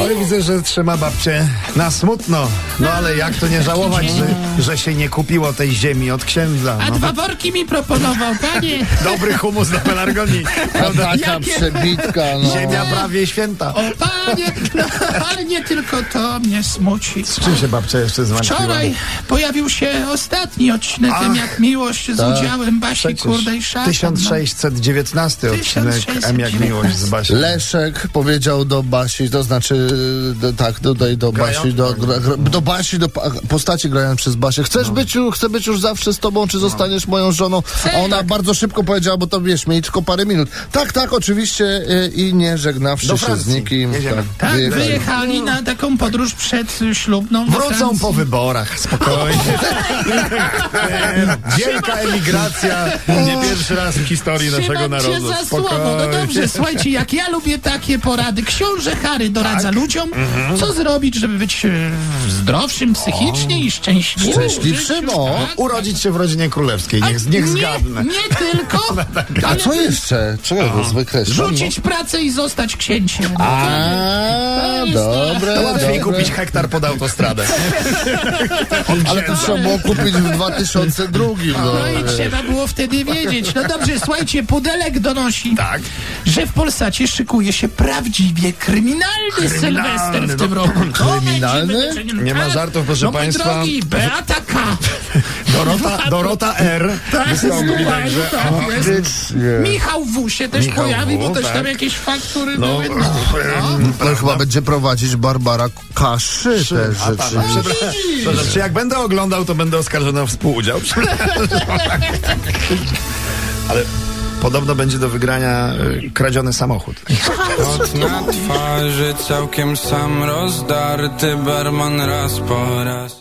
Oj, widzę, że trzyma babcie na smutno. No ale jak to nie żałować, że, że się nie kupiło tej ziemi od księdza. A No. dwa worki mi proponował, panie. Dobry humus na pelargonii. Prawda? Taka przebitka, no. Ziemia prawie święta. O panie, no, ale nie tylko to mnie smuci. Z czym się babcia jeszcze zmartwiła? Wczoraj pojawił się ostatni odcinek, Ach, tak. ten jak miłość z udziałem Basi Przecież Kurdej Szatan. 1619 odcinek M jak 1619. miłość z Basią. Leszek powiedział do Basi, to znaczy, do, tak, dodaj do Grają? Basi, do, gra, gra, do Basi, do pa- postaci grają przez Basię. Chcesz No. być, ju- chcę być już zawsze z tobą, czy zostaniesz moją żoną? A ona tak. bardzo szybko powiedziała, bo to wiesz, mieli tylko parę minut. Tak, tak, oczywiście y, i nie żegnawszy Do się z Francji. nikim. Jedziemy. Tak, wyjechali. wyjechali na taką podróż przedślubną. do Wrócą Francji. po wyborach, spokojnie. Wielka emigracja, nie pierwszy raz w historii Trzymam naszego cię narodu. za słowo. No dobrze, słuchajcie, jak ja lubię takie porady. Książę Harry doradza Tak. ludziom, Mhm. co zrobić, żeby być e, zdrowszym psychicznie i szczęśliwym. Szczęśliwszym, w życiu. o. Tak. Urodzić się w rodzinie królewskiej, niech, A niech nie, zgadnę. tak Nie tylko. A co jeszcze? Czego to jest wykreślam? Rzucić No, pracę i zostać księciem. A, dobre, To łatwiej dobre. kupić hektar pod autostradę. Ale to trzeba było kupić w 2002. No. No i trzeba było wtedy wiedzieć. No dobrze, słuchajcie, Pudelek donosi, Tak. że w Polsacie szykuje się prawdziwie kryminalny, Sylwester w tym roku. Kryminalny? Moment, żeby- no. Nie ma żartów, proszę no, mój państwa. drogi, Beata K. Tak, Dorota, Dorota R. wystąpi Słuchaj, także. tak jest. Michał W. się też Michał pojawi, bo W, też tam tak. jakieś faktury No, były. No. To chyba będzie prowadzić Barbara Kaszy tak, też A pan, rzeczywiście. przepraszam, przepraszam, czy jak będę oglądał, to będę oskarżony o współudział? Przepraszam. Ale podobno będzie do wygrania y, kradziony samochód. Kot na twarzy całkiem sam rozdarty Barman raz po raz